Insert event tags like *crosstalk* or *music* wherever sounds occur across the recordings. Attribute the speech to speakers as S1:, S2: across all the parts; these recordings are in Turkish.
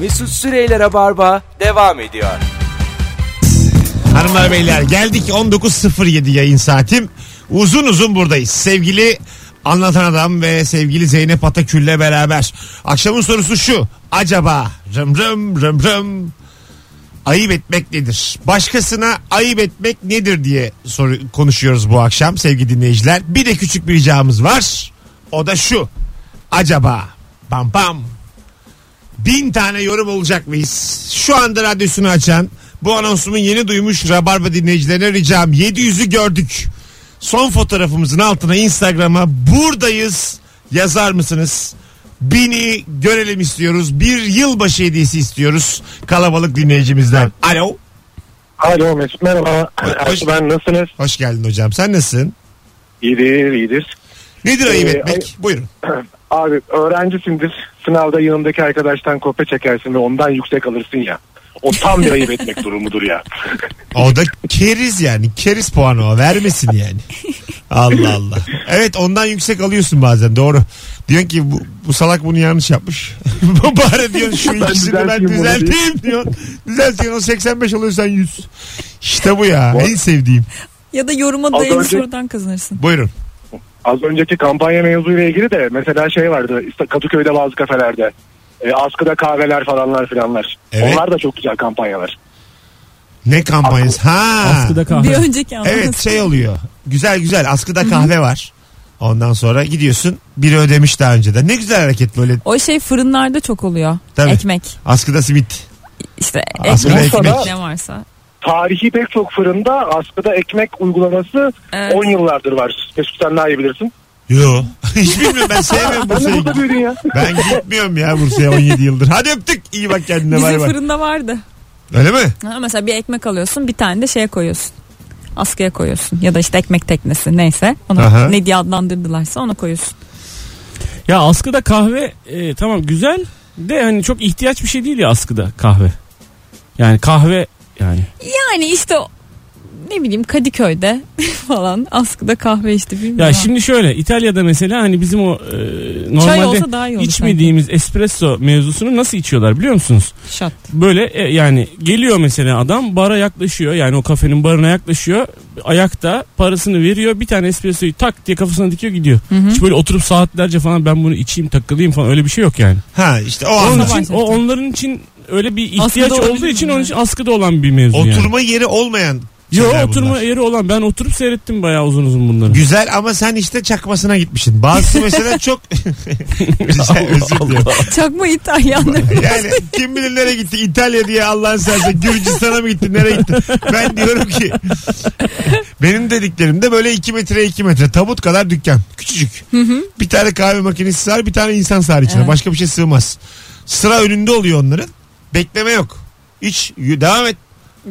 S1: Mesut Süreyler'e barba devam ediyor.
S2: Hanımlar beyler geldik 19.07 yayın saatim. Uzun uzun buradayız. Sevgili Anlatan Adam ve sevgili Zeynep Atakül'le beraber. Akşamın sorusu şu. Acaba rım rım rım rım ayıp etmek nedir? Başkasına ayıp etmek nedir diye soru, konuşuyoruz bu akşam sevgili dinleyiciler. Bir de küçük bir ricamız var. O da şu. Acaba bam bam bin tane yorum olacak mıyız? Şu anda radyosunu açan bu anonsumu yeni duymuş Rabarba dinleyicilerine ricam 700'ü gördük. Son fotoğrafımızın altına Instagram'a buradayız yazar mısınız? Bini görelim istiyoruz. Bir yılbaşı hediyesi istiyoruz kalabalık dinleyicimizden. Alo.
S3: Alo Mesut merhaba.
S2: Hoş-
S3: Hoş... Ben nasılsınız?
S2: Hoş geldin hocam. Sen nasılsın?
S3: İyidir iyidir.
S2: Nedir ayıp
S3: Ee,
S2: etmek?
S3: ayıp-
S2: Buyurun.
S3: *clears throat* Abi öğrencisindir. Sınavda yanındaki arkadaştan kopya çekersin ve ondan yüksek alırsın ya. O tam bir ayıp *laughs* etmek durumudur ya.
S2: O da keriz yani. Keriz puanı o. Vermesin yani. Allah Allah. Evet ondan yüksek alıyorsun bazen doğru. Diyorsun ki bu, bu salak bunu yanlış yapmış. *laughs* Bari diyorsun şu ikisini ben
S3: düzelteyim bunu
S2: düzelteyim diyorsun. Düzeltiyorsun o 85 oluyor sen 100. İşte bu ya.
S3: Bu-
S2: En sevdiğim.
S4: Ya da yoruma
S3: Az
S4: dayalı
S3: önce-
S4: sorudan kazanırsın.
S2: Buyurun.
S3: Az önceki kampanya mevzuyla ilgili de mesela şey vardı. İşte Kadıköy'de bazı kafelerde. E, askıda kahveler falanlar filanlar.
S2: Evet.
S3: Onlar da çok güzel kampanyalar.
S2: Ne kampanyası? Ha.
S5: Askıda
S4: Bir
S5: kahve.
S4: önceki anlamda.
S2: Evet şey oluyor. Güzel güzel askıda kahve var. Ondan sonra gidiyorsun. Biri ödemiş daha önceden. Ne güzel hareket böyle.
S4: O şey fırınlarda çok oluyor.
S2: Tabii.
S4: Ekmek.
S2: Askıda simit.
S4: İşte
S2: Aslında
S4: ekmek.
S3: ekmek.
S4: Ne varsa.
S3: Tarihi pek çok fırında askıda ekmek uygulaması
S4: Evet.
S3: 10 yıllardır var. Mesut sen daha iyi bilirsin.
S2: Yo. *laughs* Hiç bilmiyorum ben sevmiyorum
S3: Ben de
S2: Bursa'yı.
S3: burada büyüdün ya.
S2: Ben gitmiyorum ya Bursa'ya 17 yıldır. Hadi öptük. İyi bak kendine
S4: Bizim
S2: bay bay.
S4: fırında vardı.
S2: Öyle mi?
S4: Ha, mesela bir ekmek alıyorsun bir tane de şeye koyuyorsun. Askıya koyuyorsun ya da işte ekmek teknesi neyse onu
S2: Aha.
S4: ne diye adlandırdılarsa ona koyuyorsun.
S5: Ya askıda kahve e, tamam güzel de hani çok ihtiyaç bir şey değil ya askıda kahve. Yani kahve yani.
S4: Yani işte o- ne bileyim Kadıköy'de *laughs* falan askıda kahve içti bilmiyorum.
S5: Ya
S4: ama.
S5: şimdi şöyle İtalya'da mesela hani bizim o e,
S4: Çay
S5: normalde
S4: olsa daha iyi olur
S5: içmediğimiz espresso mevzusunu nasıl içiyorlar biliyor musunuz?
S4: sanki. Şat.
S5: Böyle e, yani geliyor mesela adam bara yaklaşıyor yani o kafenin barına yaklaşıyor ayakta parasını veriyor bir tane espressoyu tak diye kafasına dikiyor gidiyor. Hiç böyle oturup saatlerce falan ben bunu içeyim takılayım falan öyle bir şey yok yani.
S2: Ha işte o
S5: Onun
S2: anda.
S4: Sabah
S5: için, o
S4: zaten.
S5: onların için öyle bir ihtiyaç
S4: Askıda
S5: olduğu
S4: olabilir
S5: için
S4: mi?
S5: onun için askıda olan bir mevzu yani.
S2: Oturma yeri olmayan
S5: Yo
S2: şeyler
S5: oturma
S2: bunlar.
S5: yeri olan ben oturup seyrettim bayağı uzun uzun bunları.
S2: Güzel ama sen işte çakmasına gitmişsin. Bazısı mesela çok...
S5: *laughs*
S2: Güzel, özür diliyorum.
S4: Çakma İtalyanları.
S2: Yani kim bilir nereye gitti İtalya diye Allah'ın sersen Gürcistan'a mı gitti nereye gitti ben diyorum ki benim dediklerimde böyle 2 metreye 2 metre tabut kadar dükkan küçücük bir tane kahve makinesi sığar bir tane insan sığar içine
S4: Evet.
S2: başka bir şey sığmaz sıra önünde oluyor onların bekleme yok iç y- devam et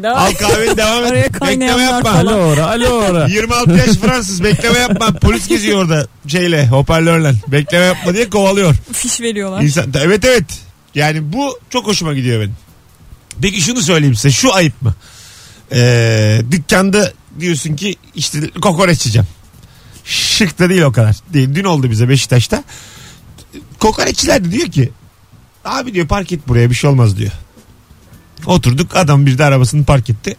S2: al kahveni devam
S4: Oraya
S2: et bekleme
S4: kaynayanlar
S2: yapma
S5: Alo ora alo
S2: *laughs*
S5: ora.
S2: 26 yaş Fransız bekleme yapma polis geziyor orada şeyle hoparlörle bekleme yapma diye kovalıyor
S4: Fiş veriyorlar.
S2: İnsan, evet evet. Yani bu çok hoşuma gidiyor benim. Peki şunu söyleyeyim size. Şu ayıp mı? Ee, dükkanda diyorsun ki işte kokoreç yiyeceğim. Şık da değil o kadar. Değil. Dün oldu bize Beşiktaş'ta. Kokoreççiler de diyor ki abi diyor park et buraya bir şey olmaz diyor. Oturduk adam bir de arabasını park etti.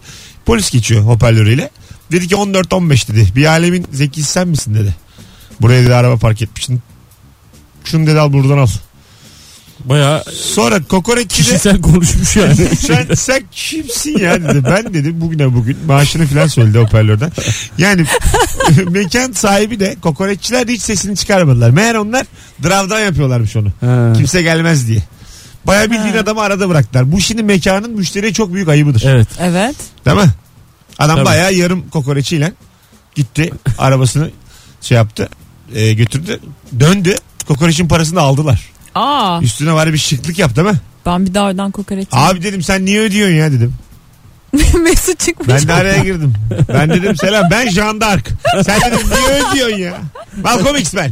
S2: Polis geçiyor hoparlörüyle. Dedi ki 14-15 dedi. Bir alemin zekisi sen misin dedi. Buraya dedi araba park etmişsin. Şunu dedi al buradan al.
S5: Bayağı
S2: Sonra kokoreççi de
S5: kişisel
S2: *laughs*
S5: konuşmuş yani.
S2: sen, sen kimsin ya dedi. Ben dedi bugüne bugün maaşını falan söyledi hoparlörden. Yani *laughs* mekan sahibi de kokoreççiler de hiç sesini çıkarmadılar. Meğer onlar dravdan yapıyorlarmış onu.
S5: Ha.
S2: Kimse gelmez diye. Baya bildiğin adamı arada bıraktılar. Bu şimdi mekanın müşteriye çok büyük ayıbıdır.
S5: Evet.
S4: Evet.
S2: Değil mi? Adam
S5: Tabii.
S2: bayağı yarım kokoreçiyle gitti. Arabasını şey yaptı. e, götürdü. Döndü. Kokoreçin parasını da aldılar.
S5: Ah.
S4: Aa
S2: Üstüne var bir şıklık yaptı değil mi?
S4: ben bir daha oradan kokoreç.
S2: Abi dedim sen niye ödüyorsun ya dedim.
S4: *laughs* Mesut çıkmış.
S2: Ben de araya girdim. Ben dedim selam ben Jean d'Arc. Sen dedim niye ödüyorsun ya? Malcolm X ben.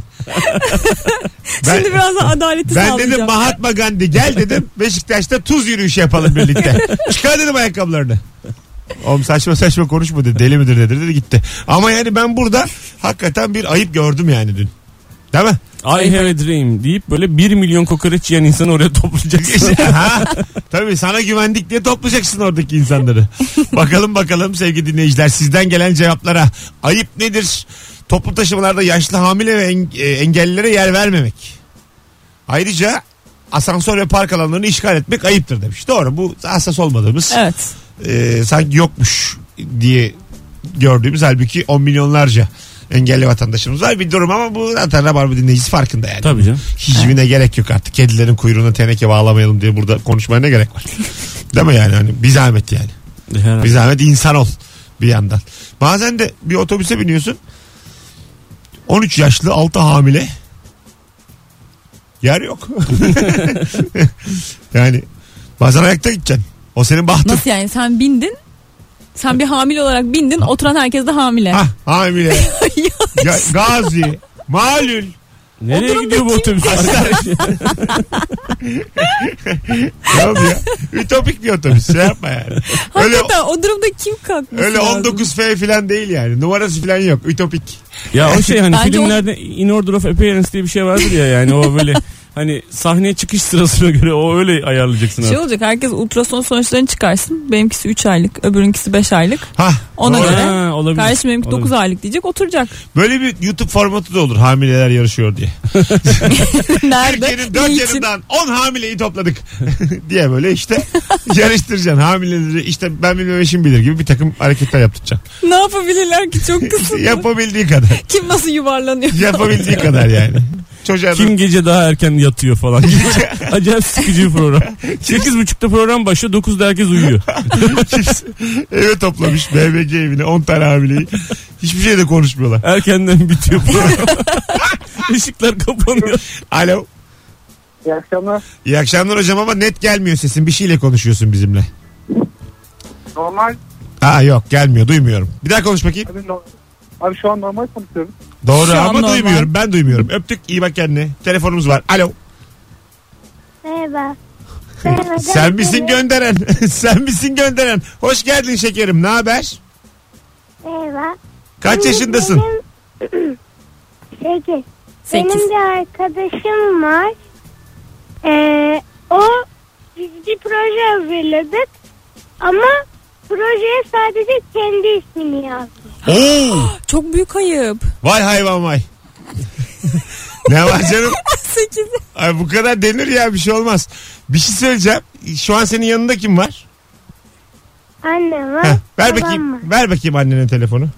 S2: Ben,
S4: Şimdi biraz da adaleti
S2: ben
S4: sağlayacağım.
S2: dedim Mahatma Gandhi gel dedim Beşiktaş'ta tuz yürüyüşü yapalım birlikte. Çıkar dedim ayakkabılarını. Oğlum saçma saçma konuşma dedi. Deli midir dedi, dedi gitti. Ama yani ben burada hakikaten bir ayıp gördüm yani dün. Değil mi?
S5: I have a dream deyip böyle 1 milyon kokoreç yiyen insanı oraya toplayacaksın.
S2: ha, tabii sana güvendik diye toplayacaksın oradaki insanları. bakalım bakalım sevgili dinleyiciler sizden gelen cevaplara. Ayıp nedir? Toplu taşımalarda yaşlı hamile ve en- e, engellilere yer vermemek. Ayrıca asansör ve park alanlarını işgal etmek ayıptır demiş. Doğru bu hassas olmadığımız
S4: Evet.
S2: e, sanki yokmuş diye gördüğümüz halbuki 10 milyonlarca engelli vatandaşımız var bir durum ama bu zaten Rabarba dinleyicisi farkında yani.
S5: *laughs* Tabii canım.
S2: Hijyine gerek yok artık. Kedilerin kuyruğuna teneke bağlamayalım diye burada konuşmaya ne
S4: *laughs*
S2: gerek var? Değil mi yani? Hani bir zahmet yani.
S5: Herhalde.
S2: Bir zahmet insan ol bir yandan. Bazen de bir otobüse biniyorsun. 13 yaşlı 6 hamile. Yer
S4: *laughs*
S2: yok. yani bazen ayakta gideceksin. O senin bahtın.
S4: Nasıl yani sen bindin sen bir hamile olarak bindin oturan herkes de hamile. *laughs*
S2: Hah hamile. Ga- Gazi. Malül.
S5: Nereye
S4: Oturun
S5: gidiyor bu
S4: da
S5: otobüs? arkadaş?
S2: Ne oldu ya? Ütopik bir otobüs. Şey yapma yani. Öyle,
S4: Hakikaten o durumda kim kalkmış
S2: öyle 19F falan değil yani. Numarası falan yok. Ütopik.
S5: *laughs* ya o şey hani
S4: Bence
S5: filmlerde In Order of Appearance diye bir şey vardır ya yani o böyle hani sahneye çıkış sırasına göre o öyle ayarlayacaksın.
S4: Şey
S5: artık.
S4: olacak herkes ultrason sonuçlarını çıkarsın. Benimkisi 3 aylık öbürünkisi 5 aylık.
S2: Ha.
S4: Ona
S5: Doğru.
S4: göre
S5: Ha, olabilir.
S4: kardeşim benimki
S5: Olabilir.
S4: 9 aylık diyecek oturacak. *laughs*
S2: Böyle bir YouTube formatı da olur hamileler yarışıyor diye.
S4: Nerede?
S2: Türkiye'nin dört
S4: Niçin?
S2: yanından 10 hamileyi topladık *laughs* diye böyle işte
S4: *laughs*
S2: yarıştıracaksın. Hamileleri işte ben bilmem eşim bilir gibi bir takım hareketler yaptıracaksın.
S4: *laughs* Ne yapabilirler
S2: *laughs*
S4: ki çok kısıtlı.
S2: Yapabildiği kadar.
S4: Kim nasıl yuvarlanıyor?
S2: Yapabildiği kadar yani. Çocuğa da- *laughs*
S5: Kim gece daha erken yatıyor falan. *laughs* Acayip sıkıcı bir program. 8.30'da program başlıyor 9'da herkes uyuyor.
S2: kimse eve toplamış BBG evine 10 tane hamileyi. Hiçbir şey de konuşmuyorlar.
S5: Erkenden bitiyor program. *laughs* Işıklar kapanıyor.
S2: Alo.
S6: İyi akşamlar.
S2: İyi akşamlar hocam ama net gelmiyor sesin. Bir şeyle konuşuyorsun bizimle.
S6: Normal.
S2: Aa yok gelmiyor duymuyorum. Bir daha konuş bakayım.
S6: Abi, no- abi şu an normal konuşuyorum.
S2: Doğru
S4: Şu an
S2: ama
S4: normal.
S2: duymuyorum. Ben duymuyorum. Öptük. iyi bak kendine. Telefonumuz var. Alo.
S7: Merhaba.
S2: *laughs*
S7: Ben hocam
S2: Sen misin
S7: benim.
S2: gönderen? *laughs* Sen misin gönderen? Hoş geldin şekerim. Ne haber?
S7: Merhaba.
S2: Kaç
S7: Benim-
S2: yaşındasın?
S7: benim- *clears throat* Sekiz.
S4: Sekiz.
S7: Benim bir arkadaşım var. Ee, o biz bir proje hazırladık. Ama projeye sadece kendi ismini yazdı.
S2: Oo!
S4: *laughs* Çok
S2: *laughs*
S4: büyük ayıp.
S2: Vay hayvan vay. ne var canım?
S4: 8.
S2: Ay bu kadar denir ya bir şey olmaz. Bir şey söyleyeceğim. Şu an senin yanında kim var?
S7: Annem var.
S2: Heh, ver
S7: babam var.
S2: bakayım. Ver bakayım annene telefonu.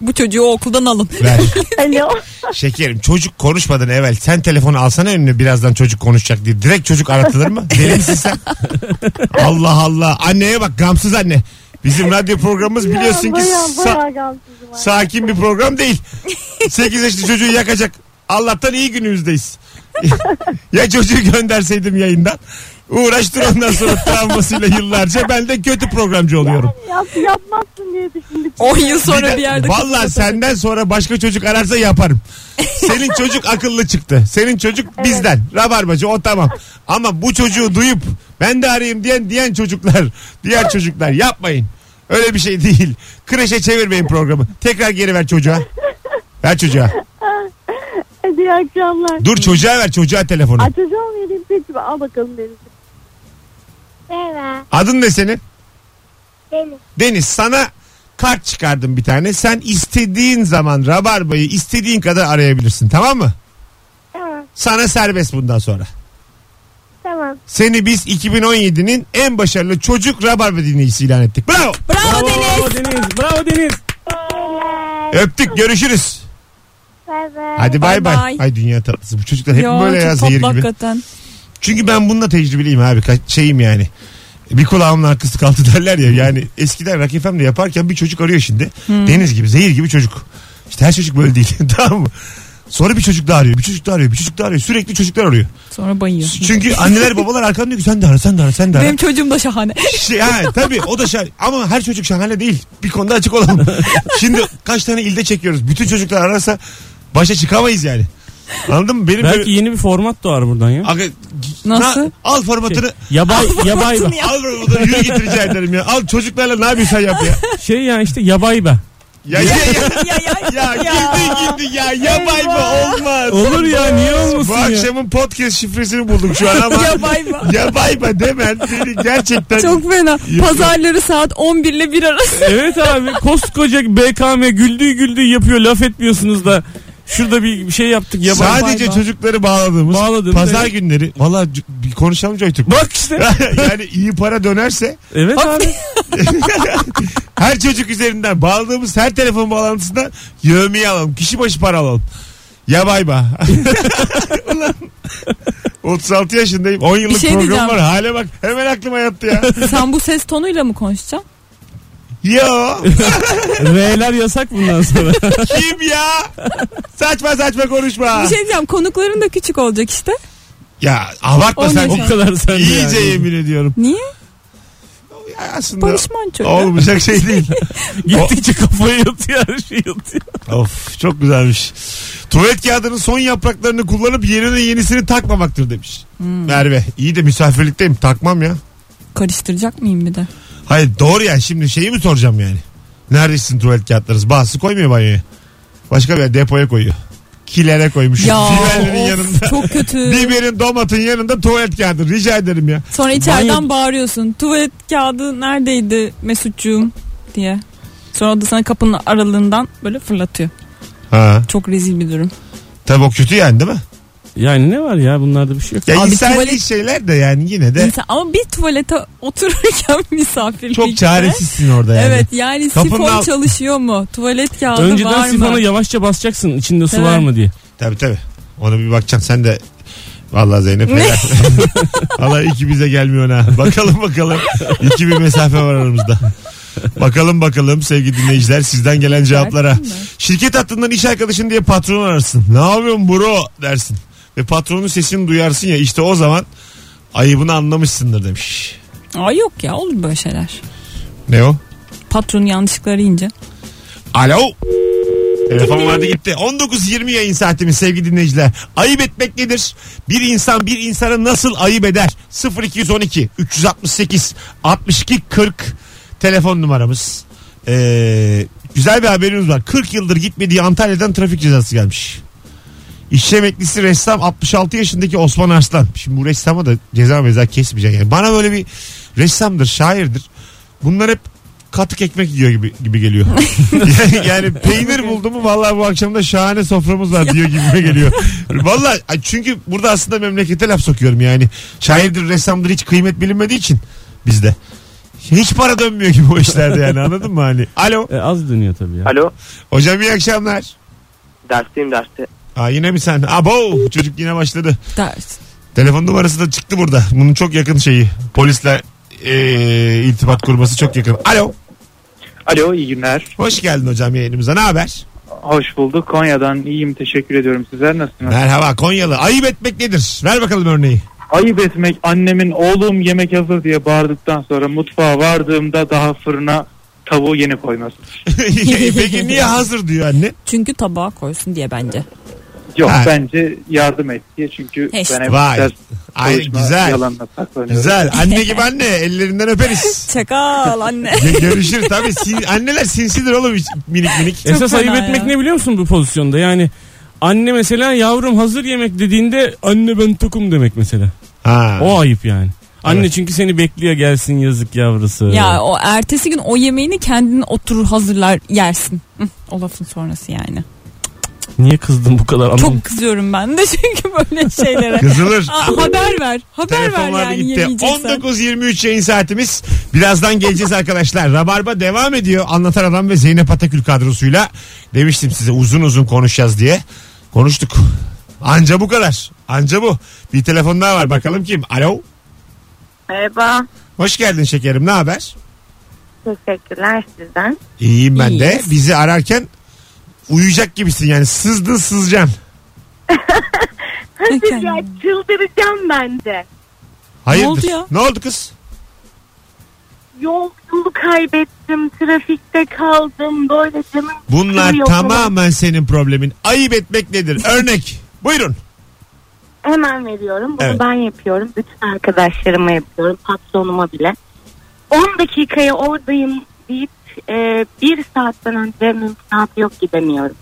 S4: Bu çocuğu o okuldan alın.
S2: Ver.
S7: Alo.
S2: Şekerim çocuk konuşmadan evvel sen telefonu alsana önüne birazdan çocuk konuşacak diye. Direkt çocuk aratılır mı? Deli misin sen? Allah Allah. Anneye bak gamsız anne. Bizim radyo programımız *laughs* biliyorsun ki
S7: Bayağı,
S2: sa-
S7: bayağı gamsızım var.
S2: sakin bir program değil. 8 yaşlı çocuğu yakacak. Allah'tan iyi günümüzdeyiz. *laughs* ya çocuğu gönderseydim yayından. Uğraştır ondan sonra travmasıyla yıllarca ben de kötü programcı oluyorum.
S7: Yap, yapmazsın diye düşündük.
S4: 10 yıl
S2: Bir
S4: sonra
S2: de-
S4: bir yerde.
S2: Vallahi senden sonra başka çocuk ararsa yaparım.
S4: *laughs*
S2: Senin çocuk akıllı çıktı. Senin çocuk bizden. Rabarbacı o tamam. Ama bu çocuğu duyup ben de arayayım diyen diyen çocuklar, diğer çocuklar yapmayın. Öyle bir şey değil. Kreşe çevirmeyin programı. Tekrar geri ver çocuğa. Ver çocuğa.
S7: İyi akşamlar.
S2: Dur çocuğa ver çocuğa telefonu.
S7: Açacağım vereyim seçimi. Al bakalım benim. Merhaba.
S2: Adın ne senin?
S7: Benim.
S2: Deniz sana kart çıkardım bir tane. Sen istediğin zaman Rabarba'yı istediğin kadar arayabilirsin tamam mı?
S7: Tamam.
S2: Sana serbest bundan sonra.
S7: Tamam.
S2: Seni biz 2017'nin en başarılı çocuk rabarba dinleyicisi ilan ettik. Bravo.
S4: Bravo Deniz.
S5: Bravo Deniz. Bravo Deniz.
S7: é,
S2: Öptük görüşürüz.
S7: Bay bay.
S2: Hadi bay
S4: Bay
S2: bay.
S4: bay.
S2: Ay dünya tatlısı. Bu çocuklar hep böyle
S4: çok
S2: ya
S4: tatlı
S2: zehir gibi.
S4: hakikaten.
S2: Çünkü ben bununla tecrübeliyim abi. Ka- şeyim yani. Bir kulağımla arkası kaldı *laughs* derler ya. Yani eskiden Rock FM'de yaparken bir çocuk arıyor şimdi. Deniz gibi, zehir gibi çocuk. İşte her çocuk böyle değil. *laughs* tamam mı? Sonra bir çocuk daha arıyor, bir çocuk daha arıyor, bir çocuk daha arıyor. Sürekli çocuklar arıyor.
S4: Sonra bayıyor.
S2: Çünkü anneler babalar arkamda diyor ki sen de ara, sen de ara, sen de ara.
S4: Benim çocuğum da şahane.
S2: Şey, ha, tabii o da şahane. Ama her çocuk şahane değil. Bir konuda açık
S5: *laughs*
S2: olalım. Şimdi kaç tane ilde çekiyoruz. Bütün çocuklar ararsa başa çıkamayız yani. Anladın mı? Benim
S5: Belki
S2: böyle-
S5: yeni bir format doğar buradan ya.
S2: Aga,
S4: Nasıl?
S2: na- al formatını.
S5: Yabay yabay
S2: Al formatını yürü git rica ederim ya. Al çocuklarla ne yapıyorsan yap ya.
S5: Şey ya işte yabay be.
S2: Ya ya *laughs* ya.
S4: ya ya
S2: Ya girdi girdi ya. Yabay mı olmaz.
S5: Olur ya niye olmasın
S2: Bu
S5: ya?
S2: akşamın podcast şifresini buldum şu an ama.
S4: Yabay mı?
S2: Yabay mı demen beni gerçekten.
S4: Çok fena. Pazarları saat 11 ile 1 arası.
S2: *laughs*
S5: Evet abi koskoca BKM güldüğü güldüğü yapıyor laf etmiyorsunuz da. Şurada bir bir şey yaptık ya.
S2: Sadece çocukları bağladığımız
S5: Bağladığımız,
S2: pazar
S4: şey-
S5: evet.
S2: günleri. Valla c- bir konuşalım Joytürk.
S5: Bak *laughs* işte.
S2: *laughs* yani iyi para dönerse
S5: Evet abi.
S2: her çocuk üzerinden bağladığımız her telefon bağlantısından yövmeyi alalım. Kişi başı para alalım. Ya bay bay. *laughs* Ulan, 36 yaşındayım. 10 yıllık
S4: şey
S2: program
S4: diyeceğim.
S2: var. Hale bak. Hemen aklıma yattı ya.
S4: Sen bu ses tonuyla mı konuşacaksın?
S2: Yo.
S5: R'ler yasak bundan sonra.
S2: Kim ya? Saçma saçma konuşma.
S4: Bir şey diyeceğim konukların da küçük olacak işte.
S2: Ya abartma
S4: On
S2: sen.
S5: o kadar sen
S2: İyice yemin ediyorum.
S4: Niye?
S2: Ya aslında
S4: Barış Manço.
S2: olmayacak şey değil.
S5: *laughs* Gittikçe kafayı yatıyor her şey yatıyor.
S2: of çok güzelmiş. Tuvalet kağıdının son yapraklarını kullanıp yerine yenisini takmamaktır demiş.
S4: Hmm.
S2: Merve iyi de misafirlikteyim takmam ya.
S4: Karıştıracak mıyım bir de?
S2: Hayır doğru ya şimdi şeyi mi soracağım yani? Neredesin tuvalet kağıtlarınız? Bazısı koymuyor banyoya. Başka bir yer, depoya koyuyor. Kilere koymuş.
S4: Ya
S2: Biberlerin
S4: of,
S2: yanında.
S4: çok kötü.
S2: Biberin domatın yanında tuvalet kağıdı. Rica ederim ya.
S4: Sonra içeriden
S5: Banyo-
S4: bağırıyorsun. Tuvalet kağıdı neredeydi Mesutcuğum diye. Sonra o da sana kapının aralığından böyle fırlatıyor.
S2: Ha.
S4: Çok rezil bir durum.
S2: Tabii o kötü yani değil mi?
S5: Yani ne var ya bunlarda bir şey yok.
S2: Ya
S4: Abi
S2: insani
S4: tuvalet-
S2: şeyler de yani yine de
S4: İnsan, ama bir tuvalete otururken *laughs* misafirlikte.
S2: çok çaresizsin orada yani.
S4: Evet yani
S2: Kapının
S4: sifon
S2: alt-
S4: çalışıyor mu? Tuvalet kağıdı var
S5: Önceden
S4: mı?
S5: sifonu yavaşça basacaksın içinde su
S4: Evet.
S5: var mı diye.
S2: Tabii tabii. Ona bir bakacaksın sen de Vallahi Zeynep helal. Allah iki bize gelmiyor ha. Bakalım bakalım. İki bir mesafe var aramızda. Bakalım bakalım sevgili dinleyiciler sizden gelen cevaplara.
S4: mi?
S2: Şirket hattından iş arkadaşın diye patronu ararsın. Ne yapıyorsun bro dersin. Ve patronun sesini duyarsın ya işte o zaman ayıbını anlamışsındır demiş.
S4: Aa, yok ya olur böyle şeyler.
S2: Ne o?
S4: Patron yanlışlıkla arayınca.
S2: Alo. Telefon vardı gitti. 19.20 yayın saatimiz sevgili dinleyiciler. Ayıp etmek nedir? Bir insan bir insana nasıl ayıp eder? 0212 368 62 40 telefon numaramız. Ee, güzel bir haberimiz var. 40 yıldır gitmediği Antalya'dan trafik cezası gelmiş. İşçi emeklisi ressam 66 yaşındaki Osman Arslan. Şimdi bu ressama da ceza meza kesmeyecek. Yani bana böyle bir ressamdır, şairdir. Bunlar hep katık ekmek yiyor gibi, gibi geliyor. yani, yani peynir buldum mu vallahi bu akşam da şahane soframız var diyor gibi geliyor. Vallahi ay çünkü burada aslında memlekete laf sokuyorum yani. Şairdir, ressamdır hiç kıymet bilinmediği için bizde. Hiç para dönmüyor gibi o işlerde yani anladın mı hani? Alo.
S5: E, az dönüyor tabii ya.
S8: Alo.
S2: Hocam iyi akşamlar.
S8: Dersteyim derste.
S2: Aa, yine mi sen? Abo çocuk yine başladı.
S4: Ders.
S2: Telefon numarası da çıktı burada. Bunun çok yakın şeyi. Polisle eee, irtibat kurması çok yakın. Alo.
S6: Alo iyi günler.
S2: Hoş geldin hocam yayınımıza. Ne haber?
S6: Hoş bulduk. Konya'dan iyiyim. Teşekkür ediyorum. Sizler nasılsınız?
S2: Merhaba Konyalı. Ayıp etmek nedir? Ver bakalım örneği. *laughs*
S6: Ayıp etmek annemin oğlum yemek hazır diye bağırdıktan sonra mutfağa vardığımda daha fırına tavuğu yeni koyması.
S2: Peki niye hazır diyor anne?
S4: Çünkü tabağa koysun diye bence.
S6: Yok
S2: Ha.
S6: bence yardım et diye çünkü
S4: İşte.
S6: ben hep
S2: Vay.
S6: ders
S2: Ay,
S6: çalışma
S2: güzel.
S6: yalanla saklanıyorum.
S2: Güzel. Anne gibi anne. Ellerinden öperiz.
S4: Çakal anne.
S2: Gö- Görüşür tabii. Sin- anneler sinsidir oğlum hiç- minik minik.
S4: Çok
S5: Esas
S4: fena
S5: ayıp
S4: ya.
S5: etmek ne biliyor musun bu pozisyonda? Yani anne mesela yavrum hazır yemek dediğinde anne ben tokum demek mesela.
S2: Ha.
S5: O ayıp yani. Anne
S2: Evet.
S5: çünkü seni bekliyor gelsin yazık yavrusu.
S4: *laughs* ya o ertesi gün o yemeğini kendin oturur hazırlar yersin. Hı, O lafın sonrası yani.
S5: Niye kızdın bu kadar? Anam-
S4: Çok kızıyorum ben de *laughs* çünkü böyle şeylere.
S2: Kızılır.
S4: Aa, haber ver. Haber ver
S2: Telefonlar
S4: yani
S2: gitti.
S4: yemeyeceksen.
S2: 19.23 yayın saatimiz. Birazdan geleceğiz arkadaşlar. Rabarba devam ediyor. Anlatan Adam ve Zeynep Atakül kadrosuyla. Demiştim size uzun uzun konuşacağız diye. Konuştuk. Anca bu kadar. Anca bu. Bir telefon daha var. Bakalım kim? Alo.
S9: Merhaba.
S2: Hoş geldin şekerim. Ne haber?
S9: Teşekkürler sizden.
S2: İyiyim ben de.
S4: İyiyiz.
S2: Bizi ararken uyuyacak gibisin yani. Sızdın sızacaksın.
S4: Peki.
S9: Siz ya çıldıracağım bence.
S2: Hayırdır?
S4: oldu ya?
S2: Ne oldu kız?
S9: Yol yolu kaybettim, trafikte kaldım, böyle canım
S2: Bunlar
S9: sıkılıyor falan.
S2: tamamen senin problemin. Ayıp etmek nedir? Örnek. Buyurun.
S9: Hemen veriyorum. Bunu
S2: Evet.
S9: ben yapıyorum. Bütün arkadaşlarıma yapıyorum. Patronuma bile. 10 dakikaya oradayım deyip e, bir saatten önce mümkünatı yok gidemiyorum.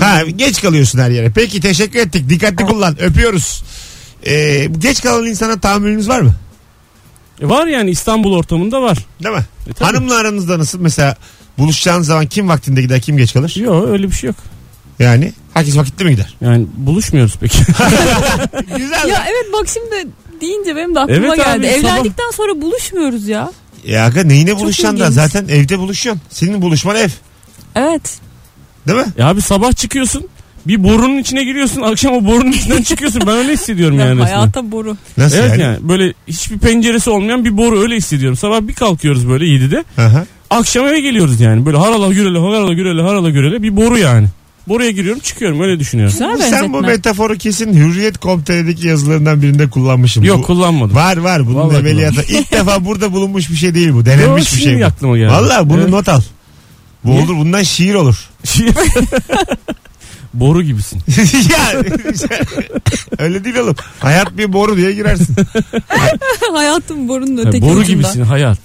S2: Ha, geç kalıyorsun her yere. Peki teşekkür ettik. Dikkatli kullan. Öpüyoruz. Ee, geç kalan insana tahammülünüz var mı?
S5: E var yani İstanbul ortamında var.
S2: Değil mi?
S5: E tabii.
S2: Hanımla aranızda nasıl mesela buluşacağınız zaman kim vaktinde gider kim geç kalır?
S5: Yok öyle bir şey yok.
S2: Yani herkes vakitli mi
S5: *laughs*
S2: gider?
S5: Yani buluşmuyoruz peki.
S2: Güzel.
S4: *laughs* Ya
S2: Ya,
S4: evet bak şimdi deyince benim de aklıma
S5: Evet abi,
S4: geldi.
S5: sabah-
S4: Evlendikten sonra buluşmuyoruz ya.
S2: aga neyine buluşacaksın da
S4: ilginç.
S2: zaten evde buluşuyorsun. Senin buluşman ev.
S4: Evet.
S2: Değil mi?
S5: ya E abi sabah çıkıyorsun bir borunun içine giriyorsun akşam o borunun içinden çıkıyorsun ben
S4: *laughs*
S5: öyle hissediyorum yani. resmen.
S4: hayata boru.
S2: Nasıl
S5: Evet yani?
S2: yani?
S5: böyle hiçbir penceresi olmayan bir boru öyle hissediyorum. Sabah bir kalkıyoruz böyle 7'de.
S2: Aha.
S5: Akşam eve geliyoruz yani. Böyle harala gürele harala gürele harala gürele bir boru yani. Boruya giriyorum çıkıyorum öyle düşünüyorum.
S4: Güzel
S2: Bu-
S4: benzetme.
S2: Sen bu metaforu kesin Hürriyet.com.tr'deki yazılarından birinde kullanmışım.
S5: Yok
S2: Bu-
S5: kullanmadım. *laughs*
S2: Var var bunun
S5: Vallahi
S2: evveliyatı. İlk defa burada bulunmuş bir şey değil bu.
S5: Yo,
S2: Denenmiş bir
S5: şimdi
S2: şey bu.
S5: aklıma geldi.
S2: Valla bunu
S5: Evet.
S2: not al. Bu
S5: Niye?
S2: olur bundan şiir
S5: *laughs*
S2: olur.
S5: Şey- boru gibisin.
S2: ya *laughs* öyle değil oğlum. Hayat bir boru diye girersin.
S4: *laughs* Hayatın borunun
S5: Ha,
S4: öteki
S5: boru
S4: ucunda.
S5: gibisin hayat.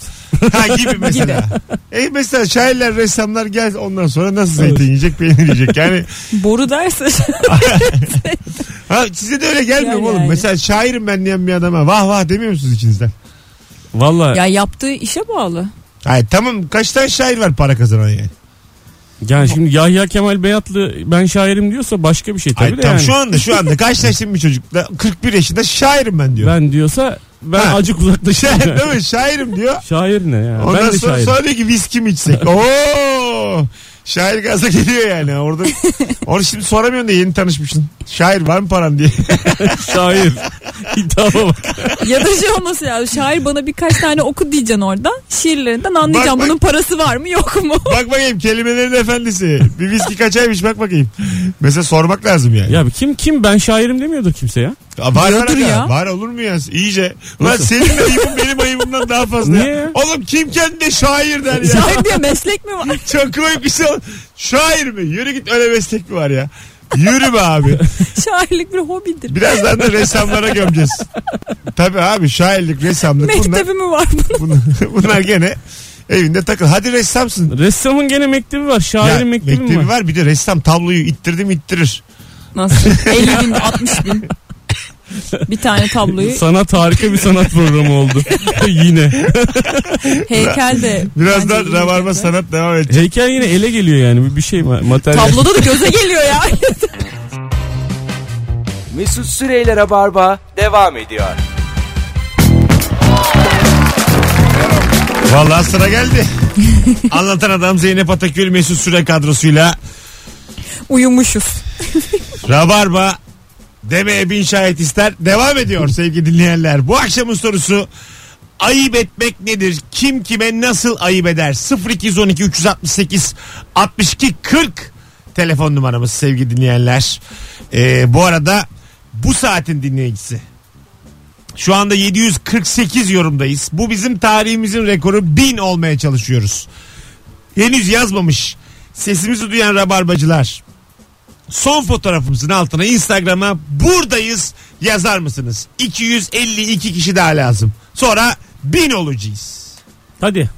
S2: Ha gibi mesela. E mesela şairler, ressamlar gel ondan sonra nasıl zeytin
S5: Evet.
S2: yiyecek, peynir yiyecek. Yani
S4: Boru
S5: *laughs*
S4: derse *laughs*
S2: ha, size de öyle gelmiyor mu
S4: Yani
S2: oğlum.
S4: yani.
S2: Mesela şairim ben diyen bir adama vah vah demiyor musunuz içinizden?
S5: Valla
S4: ya yaptığı işe bağlı.
S2: Hayır tamam kaç tane şair var para kazanan yani.
S5: yani şimdi Yahya Kemal Beyatlı ben şairim diyorsa başka bir şey tabii
S2: Hayır,
S5: de
S2: tam
S5: yani.
S2: şu anda şu
S5: *laughs*
S2: anda karşılaştım bir çocukla 41 yaşında şairim ben diyor.
S5: Ben diyorsa ben
S2: Ha.
S5: acık *laughs*
S2: *laughs*
S5: uzaklaşayım.
S2: Şair, değil mi? Şairim diyor.
S5: Şair ne ya?
S2: Ondan
S5: ben de
S2: sonra,
S5: şairim.
S2: sonra diyor ki viski mi
S5: *laughs*
S2: içsek? Oo! Şair gaza geliyor yani
S5: *laughs*
S2: orada. Onu şimdi soramıyorsun da yeni tanışmışsın. Şair var mı paran diye. *laughs*
S5: Şair. İddiama bak.
S4: Ya da şey olması lazım. Şair bana birkaç tane oku diyeceksin orada. Şiirlerinden anlayacağım
S2: Bak, bak.
S4: bunun parası var mı yok mu?
S2: bak bakayım kelimelerin efendisi. Bir viski kaçaymış bak bakayım. Mesela sormak lazım yani.
S5: Ya kim kim ben şairim demiyordur kimse ya.
S2: Aa, var var
S4: diyordur
S2: aga.
S4: ya.
S2: Var olur mu ya? İyice. Ulan
S5: Nasıl?
S2: senin ayıbın benim ayıbımdan daha fazla.
S5: Niye
S2: Ya.
S5: ya?
S2: Oğlum kim kendine şair der *laughs* ya?
S4: Şair diye meslek
S2: *laughs*
S4: mi var?
S2: Çok komik bir şey. ol- Şair mi? Yürü git öyle meslek mi var ya? Yürü be abi.
S4: Şairlik bir hobidir.
S2: Birazdan da ressamlara gömeceğiz. Tabii abi şairlik, ressamlık bunlar,
S4: Mektebi mi var
S2: *laughs*
S4: bunun?
S2: bunlar, bunlar gene evinde takıl. Hadi ressamsın.
S5: Ressamın gene mektebi var. Şairin
S2: Ya,
S5: mektebi, mi var.
S2: Bir de ressam tabloyu ittirdim ittirir.
S4: Nasıl? 50 bin 60 bin. Bir tane tabloyu
S5: Sanat harika bir sanat programı
S2: *laughs*
S5: oldu. Yine.
S4: heykel de. bence
S2: Birazdan
S4: iyi
S2: rabarba
S4: olacak.
S2: sanat devam edecek.
S5: Heykel yine ele geliyor yani. Bir- Bir şey ma- materyal.
S4: Tabloda da *laughs* göze geliyor ya.
S1: Mesut Süreyler'e barba devam ediyor.
S2: Vallahi sıra
S4: *laughs*
S2: geldi. Anlatan adam Zeynep Atakül Mesut Süre kadrosuyla
S4: Uyumuşuz.
S2: Rabarba demeye bin şahit ister. Devam ediyor sevgili dinleyenler. Bu akşamın sorusu ayıp etmek nedir? Kim kime nasıl ayıp eder? 0212 368 62 40 telefon numaramız sevgili dinleyenler. Ee, bu arada bu saatin dinleyicisi. Şu anda 748 yorumdayız. Bu bizim tarihimizin rekoru 1000 olmaya çalışıyoruz. Henüz yazmamış. Sesimizi duyan rabarbacılar son fotoğrafımızın altına Instagram'a buradayız yazar mısınız? 252 kişi daha lazım. Sonra 1000 olacağız.
S5: Hadi.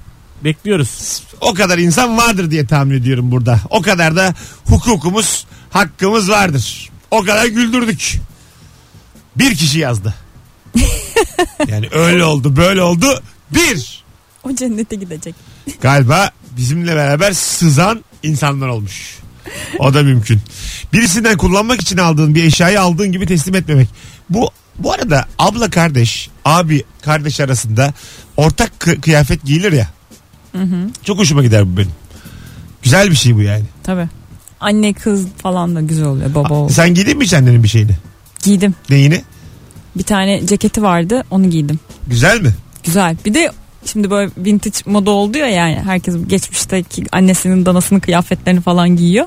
S5: Bekliyoruz.
S2: O kadar insan vardır diye tahmin ediyorum burada. O kadar da hukukumuz, hakkımız vardır. O kadar güldürdük. Bir kişi yazdı. yani öyle oldu, böyle oldu. Bir.
S4: O cennete gidecek.
S2: Galiba bizimle beraber sızan insanlar olmuş. O da mümkün. Birisinden kullanmak için aldığın bir eşyayı aldığın gibi teslim etmemek. Bu bu arada abla kardeş, abi kardeş arasında ortak kı- kıyafet giyilir ya. Çok hoşuma gider bu benim. Güzel bir şey bu yani.
S4: Tabii. Anne kız falan da güzel oluyor. Baba oğul.
S2: Sen giydin mi hiç annenin bir şeyini?
S4: Giydim.
S2: Neyini?
S4: Bir tane ceketi vardı onu giydim.
S2: Güzel mi?
S4: Güzel. Bir de şimdi böyle vintage moda oldu ya yani herkes geçmişteki annesinin danasının kıyafetlerini falan giyiyor.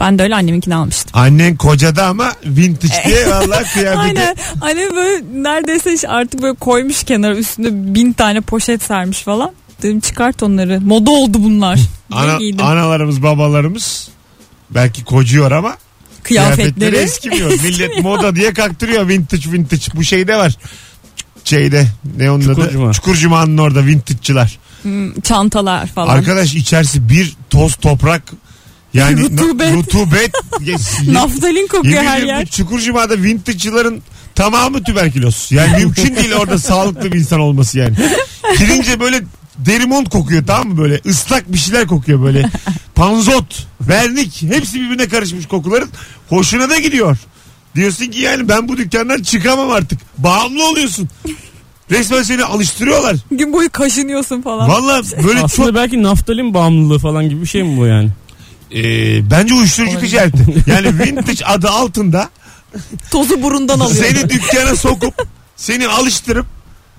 S4: Ben de öyle anneminkini almıştım.
S2: Annen kocada ama vintage diye
S4: *laughs*
S2: valla kıyafeti.
S4: Aynen. Annem böyle neredeyse işte artık böyle koymuş kenara üstünde bin tane poşet sermiş falan. Dedim çıkart onları. Moda oldu bunlar. Diye
S2: Ana,
S4: giydim.
S2: analarımız babalarımız belki kocuyor ama
S4: Kıyafetleri.
S2: eskimiyor. Millet moda diye kaktırıyor vintage vintage. Bu şeyde var. Şeyde ne onun adı?
S5: Çukurcuma.
S2: Çukurcuma'nın orada vintage'çılar.
S4: Hmm, çantalar falan.
S2: Arkadaş içerisi bir toz toprak yani
S4: Rutubet.
S2: na- rutubet. Yes-
S4: Naftalin
S2: Yemin
S4: kokuyor her
S2: ediyorum
S4: yer.
S2: bu Çukurcuma'da vintage'cıların tamamı tüberküloz. Yani mümkün değil orada
S4: *laughs*
S2: sağlıklı bir insan olması yani. Girince böyle derimont kokuyor tamam mı böyle ıslak bir şeyler kokuyor böyle. Panzot, vernik hepsi birbirine karışmış kokuların. Hoşuna da gidiyor. Diyorsun ki yani ben bu dükkandan çıkamam artık. Bağımlı oluyorsun. Resmen seni alıştırıyorlar.
S4: Gün boyu kaşınıyorsun falan.
S2: Valla böyle çok
S5: Aslında belki naftalin bağımlılığı falan gibi bir şey mi bu yani?
S2: e, bence uyuşturucu
S4: Olabilir.
S2: ticareti.
S4: *laughs*
S2: Yani vintage adı altında
S4: Tozu burundan alıyor.
S2: Seni dükkana sokup seni alıştırıp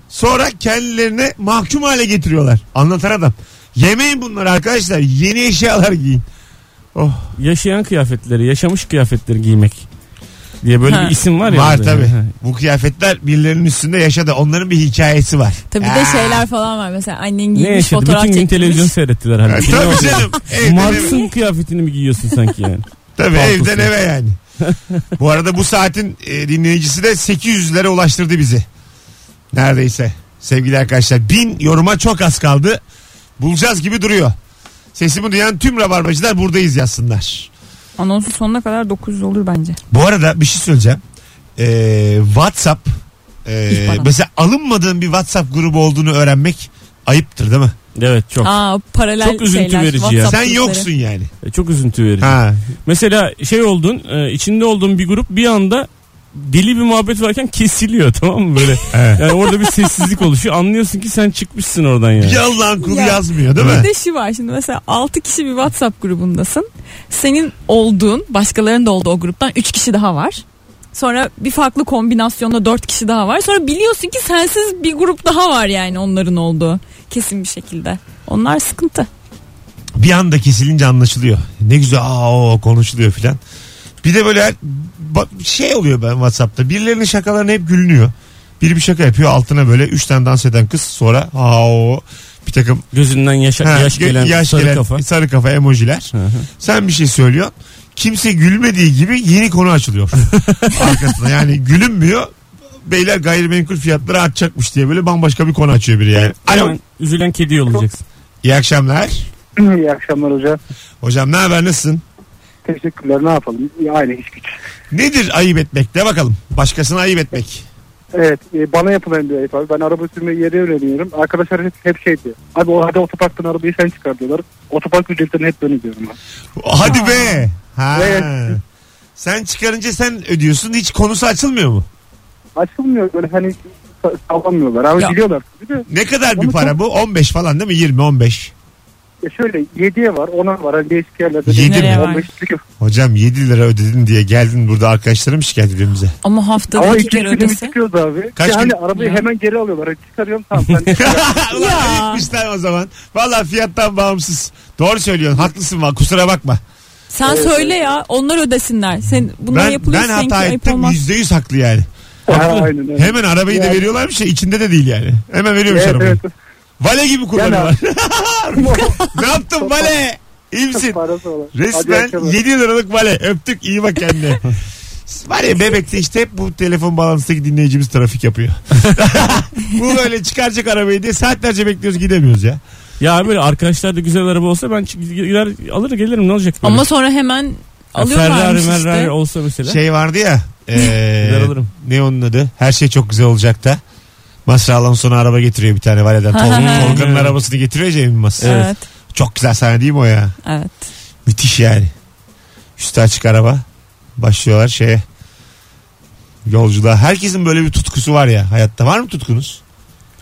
S2: sonra kendilerine mahkum hale getiriyorlar. Anlatan adam. Yemeyin bunları arkadaşlar. Yeni eşyalar giyin. Oh.
S5: Yaşayan kıyafetleri, yaşamış kıyafetleri giymek diye böyle
S4: Ha.
S5: bir isim var
S2: Var,
S5: ya. orada
S2: tabii.
S5: yani. Ha.
S2: Bu kıyafetler birilerinin üstünde yaşadı. Onların bir hikayesi var.
S4: Tabii bir
S2: Ha.
S4: de şeyler falan var. Mesela annen
S5: Ne
S4: giymiş
S5: yaşadı?
S4: fotoğraf
S5: Bütün gün
S4: çekmiş.
S5: televizyon seyrettiler.
S2: Ha,
S5: Hani. Ne
S2: Tabii
S5: oldu? *laughs*
S2: canım. Evden eve,
S5: Marx'ın kıyafetini mi giyiyorsun sanki yani?
S2: tabii
S5: paltosu.
S2: evden eve yani. bu arada bu saatin e, dinleyicisi de 800'lere ulaştırdı bizi. Neredeyse. Sevgili arkadaşlar. Bin yoruma çok az kaldı. Bulacağız gibi duruyor. Sesimi duyan tüm rabarbacılar buradayız yazsınlar.
S4: Anonsun sonuna kadar 900 olur bence.
S2: Bu arada bir şey söyleyeceğim. Ee, WhatsApp ee,
S4: İhbar al.
S2: mesela alınmadığın bir WhatsApp grubu olduğunu öğrenmek ayıptır değil mi?
S5: *laughs* Evet çok.
S4: Aa paralel
S5: Çok üzüntü
S4: şeyler.
S5: verici ya.
S4: WhatsApp
S2: Sen
S4: grupları.
S2: yoksun yani.
S5: E, Çok üzüntü verici.
S2: Ha.
S5: Mesela şey oldun, e, içinde olduğun bir grup bir anda deli bir muhabbet varken kesiliyor *laughs* tamam mı böyle?
S2: Evet.
S5: Yani orada bir sessizlik oluşuyor. Anlıyorsun ki sen çıkmışsın oradan yani.
S2: Yalan kulu
S4: Ya.
S2: yazmıyor değil mi?
S4: Bir de şu var şimdi mesela 6 kişi bir WhatsApp grubundasın. Senin olduğun başkalarının da olduğu o gruptan 3 kişi daha var. Sonra bir farklı kombinasyonda 4 kişi daha var. Sonra biliyorsun ki sensiz bir grup daha var yani onların olduğu. Kesin bir şekilde. Onlar sıkıntı.
S2: Bir anda kesilince anlaşılıyor. Ne güzel aa o konuşuluyor filan. Bir de böyle her- ba- şey oluyor ben WhatsApp'ta. Birilerinin şakalarına hep gülünüyor. Biri bir şaka yapıyor altına böyle üç tane dans eden kız sonra aa o bir takım
S5: Gözünden yaşa-
S2: Ha,
S5: yaş
S2: gö-
S5: gelen
S2: yaş
S5: sarı
S2: gelen
S5: kafa.
S2: sarı kafa emojiler.
S5: Hı hı.
S2: Sen bir şey söylüyorsun. Kimse gülmediği gibi yeni konu açılıyor.
S5: *laughs*
S2: Arkasında yani gülünmüyor. Beyler gayrimenkul fiyatları artacakmış diye böyle bambaşka bir konu açıyor biri yani. Alo.
S5: Hemen üzülen kedi yollayacaksın.
S2: İyi akşamlar.
S6: İyi akşamlar hocam.
S2: Hocam ne haber nasılsın?
S6: Teşekkürler ne yapalım? Aynı iş güç.
S2: Nedir ayıp etmek? De bakalım. Başkasına ayıp etmek.
S6: Evet e, bana yapılan bir ayıp abi. Ben araba sürmeyi yeni öğreniyorum. Arkadaşlar hep, hep şey diyor. Abi o hadi otoparktan arabayı sen çıkar diyorlar. Otopark ücretlerini hep ben ödüyorum. abi.
S2: Hadi be. Ha.
S6: Evet.
S2: Sen çıkarınca sen ödüyorsun. Hiç konusu açılmıyor mu?
S6: Açılmıyor böyle hani sa- sallamıyorlar. Abi
S4: Ya.
S6: biliyorlar. Bir de
S2: Ne kadar bir
S6: Onu
S2: para bu? 15 falan değil mi? 20 15.
S6: e, şöyle 7'ye var 10'a var. Hani değişik yerlerde.
S2: Yedi
S4: mi?
S6: 15 çıkıyor.
S2: Hocam 7 lira ödedin diye geldin burada arkadaşlarım şikayet ediyor
S6: *laughs*
S2: bize.
S4: Ama haftada
S6: Ama
S4: iki
S6: iki
S4: kere
S6: günde bir
S4: ödese.
S6: çıkıyoruz abi.
S2: Kaç
S6: Kaç hani
S2: gün-
S6: arabayı
S4: Ya.
S6: hemen geri alıyorlar. Hani çıkarıyorum tamam. Ben
S2: Ulan ayıpmışlar o zaman. Valla fiyattan bağımsız. Doğru söylüyorsun. Haklısın var. Kusura bakma.
S4: Sen söyle ya onlar ödesinler. Sen bunlar
S2: ben
S4: yapılıyor
S2: ben
S4: sanki
S2: hata
S4: ayıp
S2: ettim.
S4: olmaz.
S2: Yüzde yüz haklı yani.
S6: Ha, aynen öyle.
S2: Hemen arabayı da
S6: Yani-
S2: veriyorlarmış ya. içinde de değil yani. Hemen veriyormuş
S6: Evet,
S2: arabayı.
S6: evet.
S2: Vale gibi kullanıyorlar. *laughs* ne yaptın vale? İyi misin?
S6: Parası olan. Hadi
S2: Resmen
S6: akşamlar.
S2: 7 liralık vale. Öptük iyi bak kendine. Var ya bebekte işte hep bu telefon balanstaki dinleyicimiz trafik yapıyor. *laughs* bu böyle çıkaracak arabayı diye saatlerce bekliyoruz gidemiyoruz ya.
S5: Ya böyle arkadaşlar da güzel araba olsa ben çık- gider alır gelirim ne olacak? böyle?
S4: Ama sonra hemen
S5: Ya
S4: alıyorlarmış
S5: Ferrari,
S4: işte.
S5: Merrari olsa mesela.
S2: Şey vardı ya. eee,
S5: Gider alırım.
S2: ne onun adı? Her şey çok güzel olacak da. Masra Alonso'na araba getiriyor bir tane valeden. Tol-
S4: ha.
S2: Tolga'nın arabasını getiriyor ya Cemil Mas.
S4: Evet.
S2: Çok güzel sahne değil mi o ya?
S4: Evet.
S2: Müthiş yani. Üstü açık araba. Başlıyorlar şeye. Yolculuğa. Herkesin böyle bir tutkusu var ya hayatta. Var mı tutkunuz?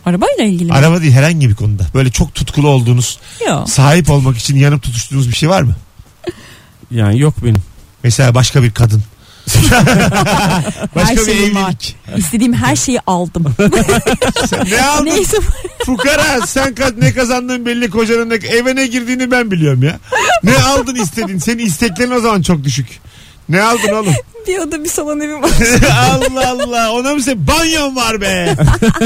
S4: Arabayla ilgili mi?
S2: Araba değil herhangi bir konuda. Böyle çok tutkulu olduğunuz,
S4: Yok.
S2: sahip olmak için yanıp tutuştuğunuz bir şey var mı?
S5: Yani yok benim.
S2: Mesela başka bir kadın. başka bir
S4: şeyim var.
S2: evlilik.
S4: İstediğim her şeyi
S2: *laughs*
S4: aldım.
S2: Sen ne aldın?
S4: Neyse *laughs*
S2: Fukara sen ka- ne kazandığın belli kocanın ne, eve ne girdiğini ben biliyorum ya. Ne aldın istedin? Senin isteklerin o zaman çok düşük. Ne aldın oğlum? *laughs*
S4: bir oda bir salon evim var.
S2: Allah Allah ona mı sen banyon var be.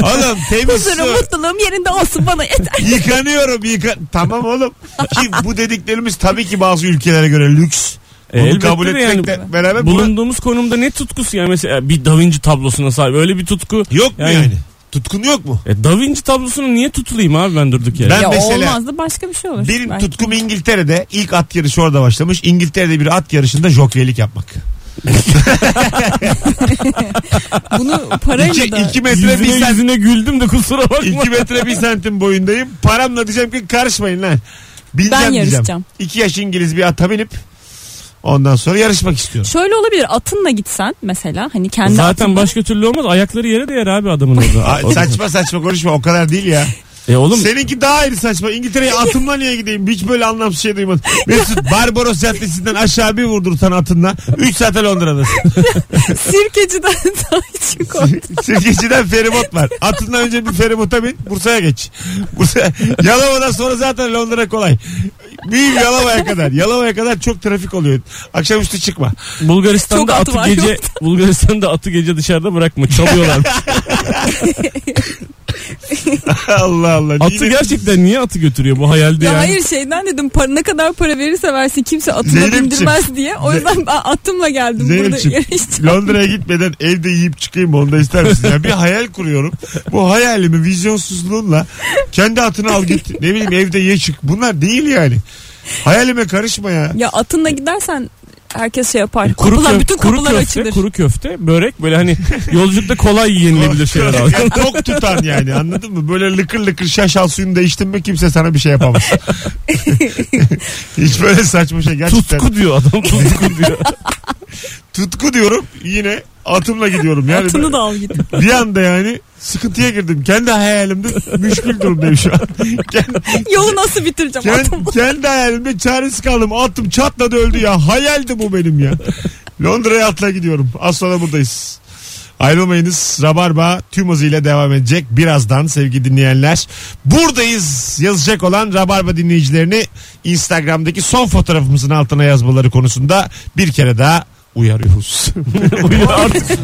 S2: Oğlum temiz
S4: Huzurum,
S2: su.
S4: mutluluğum yerinde olsun bana yeter.
S2: Yıkanıyorum yıka. Tamam oğlum. Ki bu dediklerimiz tabii ki bazı ülkelere göre lüks.
S5: E,
S2: Bunu
S5: elbette
S2: kabul
S5: de yani
S2: etmekle beraber buna-
S5: Bulunduğumuz konumda ne tutkusu ya mesela bir Da Vinci tablosuna sahip öyle bir tutku.
S2: yok mu yani? Tutkun yok mu?
S5: E, da Vinci tablosunu niye tutulayım abi ben durduk
S2: *laughs*
S5: yere?
S2: Ben
S4: ya
S2: mesela-
S4: olmaz da başka bir şey olur.
S2: Benim
S4: belki.
S2: tutkum İngiltere'de ilk at yarışı orada başlamış. İngiltere'de bir at yarışında jokeylik yapmak.
S4: Bunu parayla
S2: İki,
S4: da
S2: iki metre bir
S5: Yüzüne,
S2: santim.
S5: yüzüne güldüm de kusura bakma.
S2: iki metre bir santim boyundayım. Paramla diyeceğim ki karışmayın lan. Bileceğim
S4: Ben
S2: diyeceğim.
S4: yarışacağım.
S2: İki yaş İngiliz bir ata binip ondan sonra yarışmak istiyorum.
S4: Şöyle olabilir atınla gitsen mesela hani kendi
S5: Zaten
S4: atınla.
S5: başka türlü olmaz. Ayakları yere değer abi adamın
S2: Aa,
S5: orada.
S2: saçma saçma konuşma o kadar değil ya.
S5: E oğlum
S2: Seninki daha ayrı saçma. İngiltere'ye
S5: *laughs*
S2: atımla niye gideyim? Hiç böyle anlamsız şey duymadım. Mesut Barbaros Caddesi'nden aşağı bir vurdursan atınla. 3 saate Londra'dasın.
S5: *laughs*
S4: sirkeciden *laughs*
S2: *laughs*
S4: sahip koy.
S2: Sirkeci'den feribot var. Atından önce bir feribota bin Bursa'ya geç. Bursa, Yalova'dan sonra zaten Londra kolay. Büyük Yalova'ya kadar. Yalova'ya kadar çok trafik oluyor. Akşamüstü çıkma. *laughs*
S4: Çok
S5: Bulgaristan'da
S4: atı
S5: atı
S4: var
S5: gece
S4: *laughs* yoksa.
S5: Bulgaristan'da atı gece dışarıda
S2: *laughs*
S5: bırakma çalıyorlar.
S2: Allah Allah.
S5: atı
S2: Yine-
S5: gerçekten niye atı götürüyor bu hayalde
S4: Ya
S5: yani.
S4: hayır şeyden dedim para, ne kadar para verirse versin kimse atına
S2: Zeynepciğim.
S4: bindirmez diye. O yüzden ben atımla geldim burada
S2: Zeynepciğim, *laughs*
S4: yarışacağım.
S2: Londra'ya gitmeden evde yiyip çıkayım onu da ister misin? Yani bir hayal kuruyorum. Bu hayalimi vizyonsuzluğunla kendi atını al git. Ne bileyim evde ye çık. Bunlar değil yani. Hayalime karışma ya.
S4: Ya atınla gidersen herkes şey yapar.
S5: E, Kuru,
S4: kapılar
S5: köf-
S4: bütün
S5: kuru
S4: kapılar
S5: köfte,
S4: açılır.
S5: kuru köfte, börek böyle hani yolculukta
S2: *laughs*
S5: kolay yenilebilir şeyler abi.
S2: Yani tok tutan yani anladın mı? Böyle lıkır lıkır şaşal suyunu da içtin mi kimse sana bir şey yapamaz.
S4: *laughs*
S2: Hiç böyle saçma şey gerçekten. Tutku,
S5: Tutku diyor *laughs* adam tutku diyor.
S2: diyorum yine atımla gidiyorum. Yani
S4: Atını da al git. *laughs*
S2: Bir anda yani sıkıntıya girdim. Kendi hayalimde müşkül durumdayım şu an. *laughs* Kendi,
S4: Yolu nasıl bitireceğim atımla?
S2: kendi, kendi hayalimde çaresiz kaldım. Attım çatladı öldü ya. Hayaldi bu benim ya. Londra'ya atla gidiyorum. Az sonra buradayız. Ayrılmayınız. Rabarba tüm hızıyla devam edecek. Birazdan sevgili dinleyenler. Buradayız yazacak olan Rabarba dinleyicilerini Instagram'daki son fotoğrafımızın altına yazmaları konusunda bir kere daha uyarıyoruz.
S5: Uyuyor artık.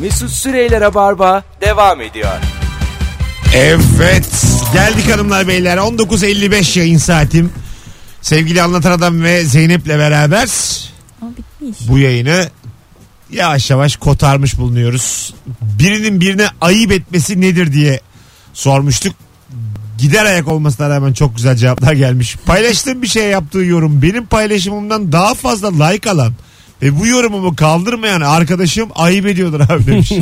S1: Mesut Süreyler'e barba devam ediyor.
S2: Evet. Geldik hanımlar beyler. 19.55 yayın saatim. Sevgili Anlatan Adam ve Zeynep'le beraber
S4: Ama bitmiş.
S2: bu yayını yavaş yavaş kotarmış bulunuyoruz. Birinin birine ayıp etmesi nedir diye sormuştuk. Gider ayak olmasına rağmen çok güzel cevaplar gelmiş. Paylaştığım bir şey yaptığı yorum benim paylaşımımdan daha fazla like alan ve bu yorumumu kaldırmayan arkadaşım ayıp ediyordur abi demiş.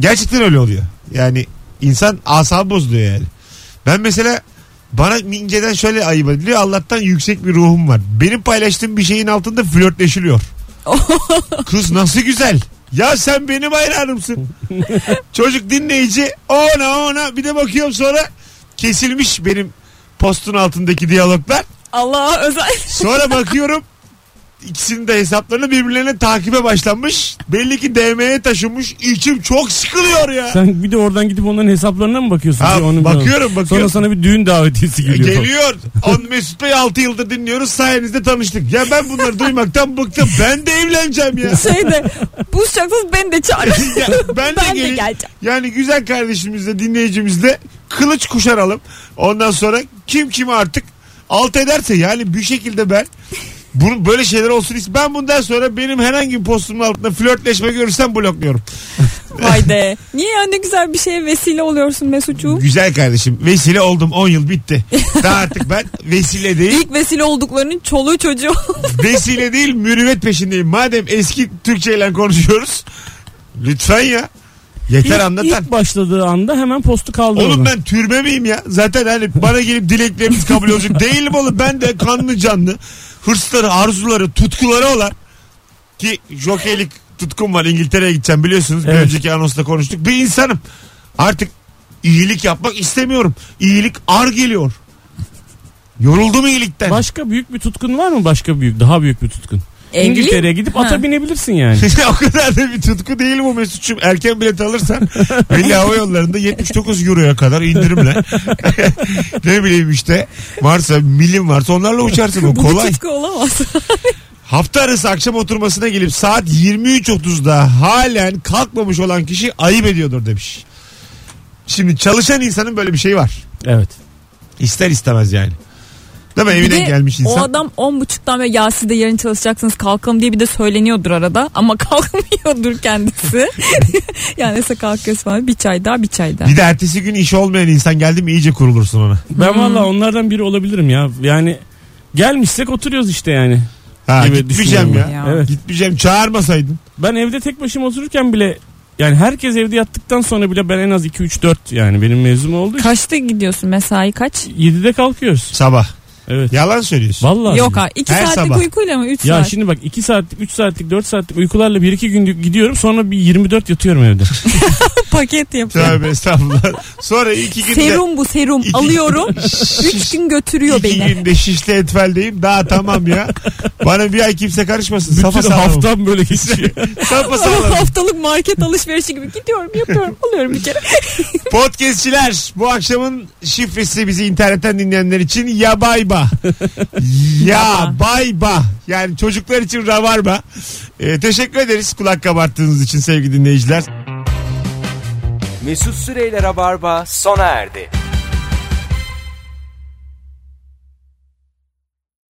S2: Gerçekten öyle oluyor. Yani insan asabı bozuluyor yani. Ben mesela bana inceden şöyle ayıp ediliyor. Allah'tan yüksek bir ruhum var. Benim paylaştığım bir şeyin altında flörtleşiliyor. Kız nasıl güzel. Ya sen benim hayranımsın. Çocuk dinleyici ona ona bir de bakıyorum sonra kesilmiş benim postun altındaki diyaloglar.
S4: Allah'a özel. *laughs*
S2: Sonra bakıyorum ikisinin de hesaplarını birbirlerine takibe başlanmış. Belli ki DM'ye taşınmış. İçim çok sıkılıyor ya.
S5: Sen bir de oradan gidip onların hesaplarına mı bakıyorsun?
S2: Ha,
S5: Bir onu
S2: bakıyorum,
S5: bilmiyorum.
S2: bakıyorum.
S5: Sonra sana bir düğün davetiyesi geliyor.
S2: Geliyor. On Mesut Bey 6 yıldır dinliyoruz. Sayenizde tanıştık. Ya ben bunları duymaktan bıktım. Ben de evleneceğim ya.
S4: Şeyde buluşacaksınız beni de çağır.
S5: *laughs*
S2: Ya ben de,
S4: Ben de
S2: geleyim.
S4: geleceğim.
S2: Yani güzel kardeşimizle dinleyicimizle kılıç kuşaralım. Ondan sonra kim kimi artık alt ederse yani bir şekilde ben bunu böyle şeyler olsun ist- Ben bundan sonra benim herhangi bir postumun altında flörtleşme görürsem blokluyorum.
S4: Vay de. Niye ya ne güzel bir şeye vesile oluyorsun Mesut'cuğum.
S2: Güzel kardeşim. Vesile oldum 10 yıl bitti. Daha artık ben vesile değil.
S4: İlk vesile olduklarının çoluğu çocuğu.
S2: Vesile değil mürüvvet peşindeyim. Madem eski Türkçeyle konuşuyoruz. Lütfen ya. Yeter anlatan.
S5: İlk başladığı anda hemen postu kaldı.
S2: Oğlum
S5: orada.
S2: ben türbe miyim ya? Zaten hani bana gelip dileklerimiz kabul olacak. Değilim oğlum. Ben de kanlı canlı hırsları, arzuları, tutkuları olan ki jokeylik tutkum var. İngiltere'ye gideceğim biliyorsunuz. Bir
S5: Evet.
S2: önceki anonsla konuştuk. Bir insanım. Artık iyilik yapmak istemiyorum. İyilik ar geliyor. Yoruldum iyilikten.
S5: Başka büyük bir tutkun var mı? Başka büyük, daha büyük bir tutkun.
S4: Evli-
S5: *laughs* İngiltere'ye gidip ata
S4: Ha.
S2: *laughs*
S5: binebilirsin yani.
S2: o kadar da bir tutku değil bu Mesut'cum. Erken bilet
S4: *laughs*
S2: alırsan belli hava yollarında 79 euroya kadar
S4: *laughs*
S2: indirimle. ne bileyim işte varsa milim varsa onlarla uçarsın o
S4: Bu
S2: kolay.
S4: bir tutku olamaz.
S2: Hafta arası akşam oturmasına gelip saat 23.30'da halen kalkmamış olan kişi ayıp ediyordur demiş. Şimdi çalışan insanın böyle bir şeyi var.
S5: Evet.
S2: İster istemez yani. Değil mi?
S4: Bir
S2: Evine
S4: de
S2: gelmiş
S4: O
S2: insan.
S4: adam on buçuktan ve ya siz de yarın çalışacaksınız kalkalım diye bir de söyleniyordur arada ama *laughs* kalkmıyordur kendisi. *laughs* yani neyse kalkıyoruz falan bir çay daha bir çay daha.
S2: Bir de ertesi gün iş olmayan insan geldi mi iyice kurulursun ona.
S5: Ben
S4: Hmm.
S5: valla onlardan biri olabilirim ya. Yani gelmişsek oturuyoruz işte yani.
S2: Ha,
S5: gibi
S2: gitmeyeceğim ya.
S5: düşünüyorum
S4: ya.
S5: Evet.
S2: Gitmeyeceğim çağırmasaydın.
S5: Ben evde tek başıma otururken bile yani herkes evde yattıktan sonra bile ben en az 2 3 4 yani benim mezun olduğu için
S4: Kaçta gidiyorsun mesai kaç?
S5: 7'de kalkıyoruz.
S2: Sabah.
S5: Evet.
S2: Yalan söylüyorsun.
S5: Vallahi.
S4: Yok ha 2
S2: Her
S4: saatlik
S2: sabah.
S4: uykuyla mı 3
S5: Ya
S4: saat?
S5: şimdi bak 2 saatlik, 3 saatlik, 4 saatlik uykularla 1-2 gün gidiyorum sonra bir 24 yatıyorum evde.
S4: *laughs* Paket
S2: *laughs*
S4: yapıyor.
S2: Tövbe estağfurullah. Sonra iki günde...
S4: Serum bu serum
S2: İki-
S4: alıyorum
S2: *laughs*
S4: 3 gün götürüyor
S2: İki
S4: beni.
S2: günde şişli etfeldeyim. Daha tamam ya. Bana bir ay kimse karışmasın.
S5: *laughs*
S2: Safa
S5: Bütün
S2: sağlamım.
S5: haftam böyle *laughs* geçiyor.
S2: Safa sağlamım.
S4: *laughs* Haftalık market alışverişi gibi gidiyorum yapıyorum alıyorum bir kere.
S2: Podcastçiler bu akşamın şifresi bizi internetten dinleyenler için ya bayba. ya bayba. Yani çocuklar için rabarba. Ee, teşekkür ederiz kulak kabarttığınız için sevgili dinleyiciler.
S1: Mesut Süreyler'e barba sona erdi.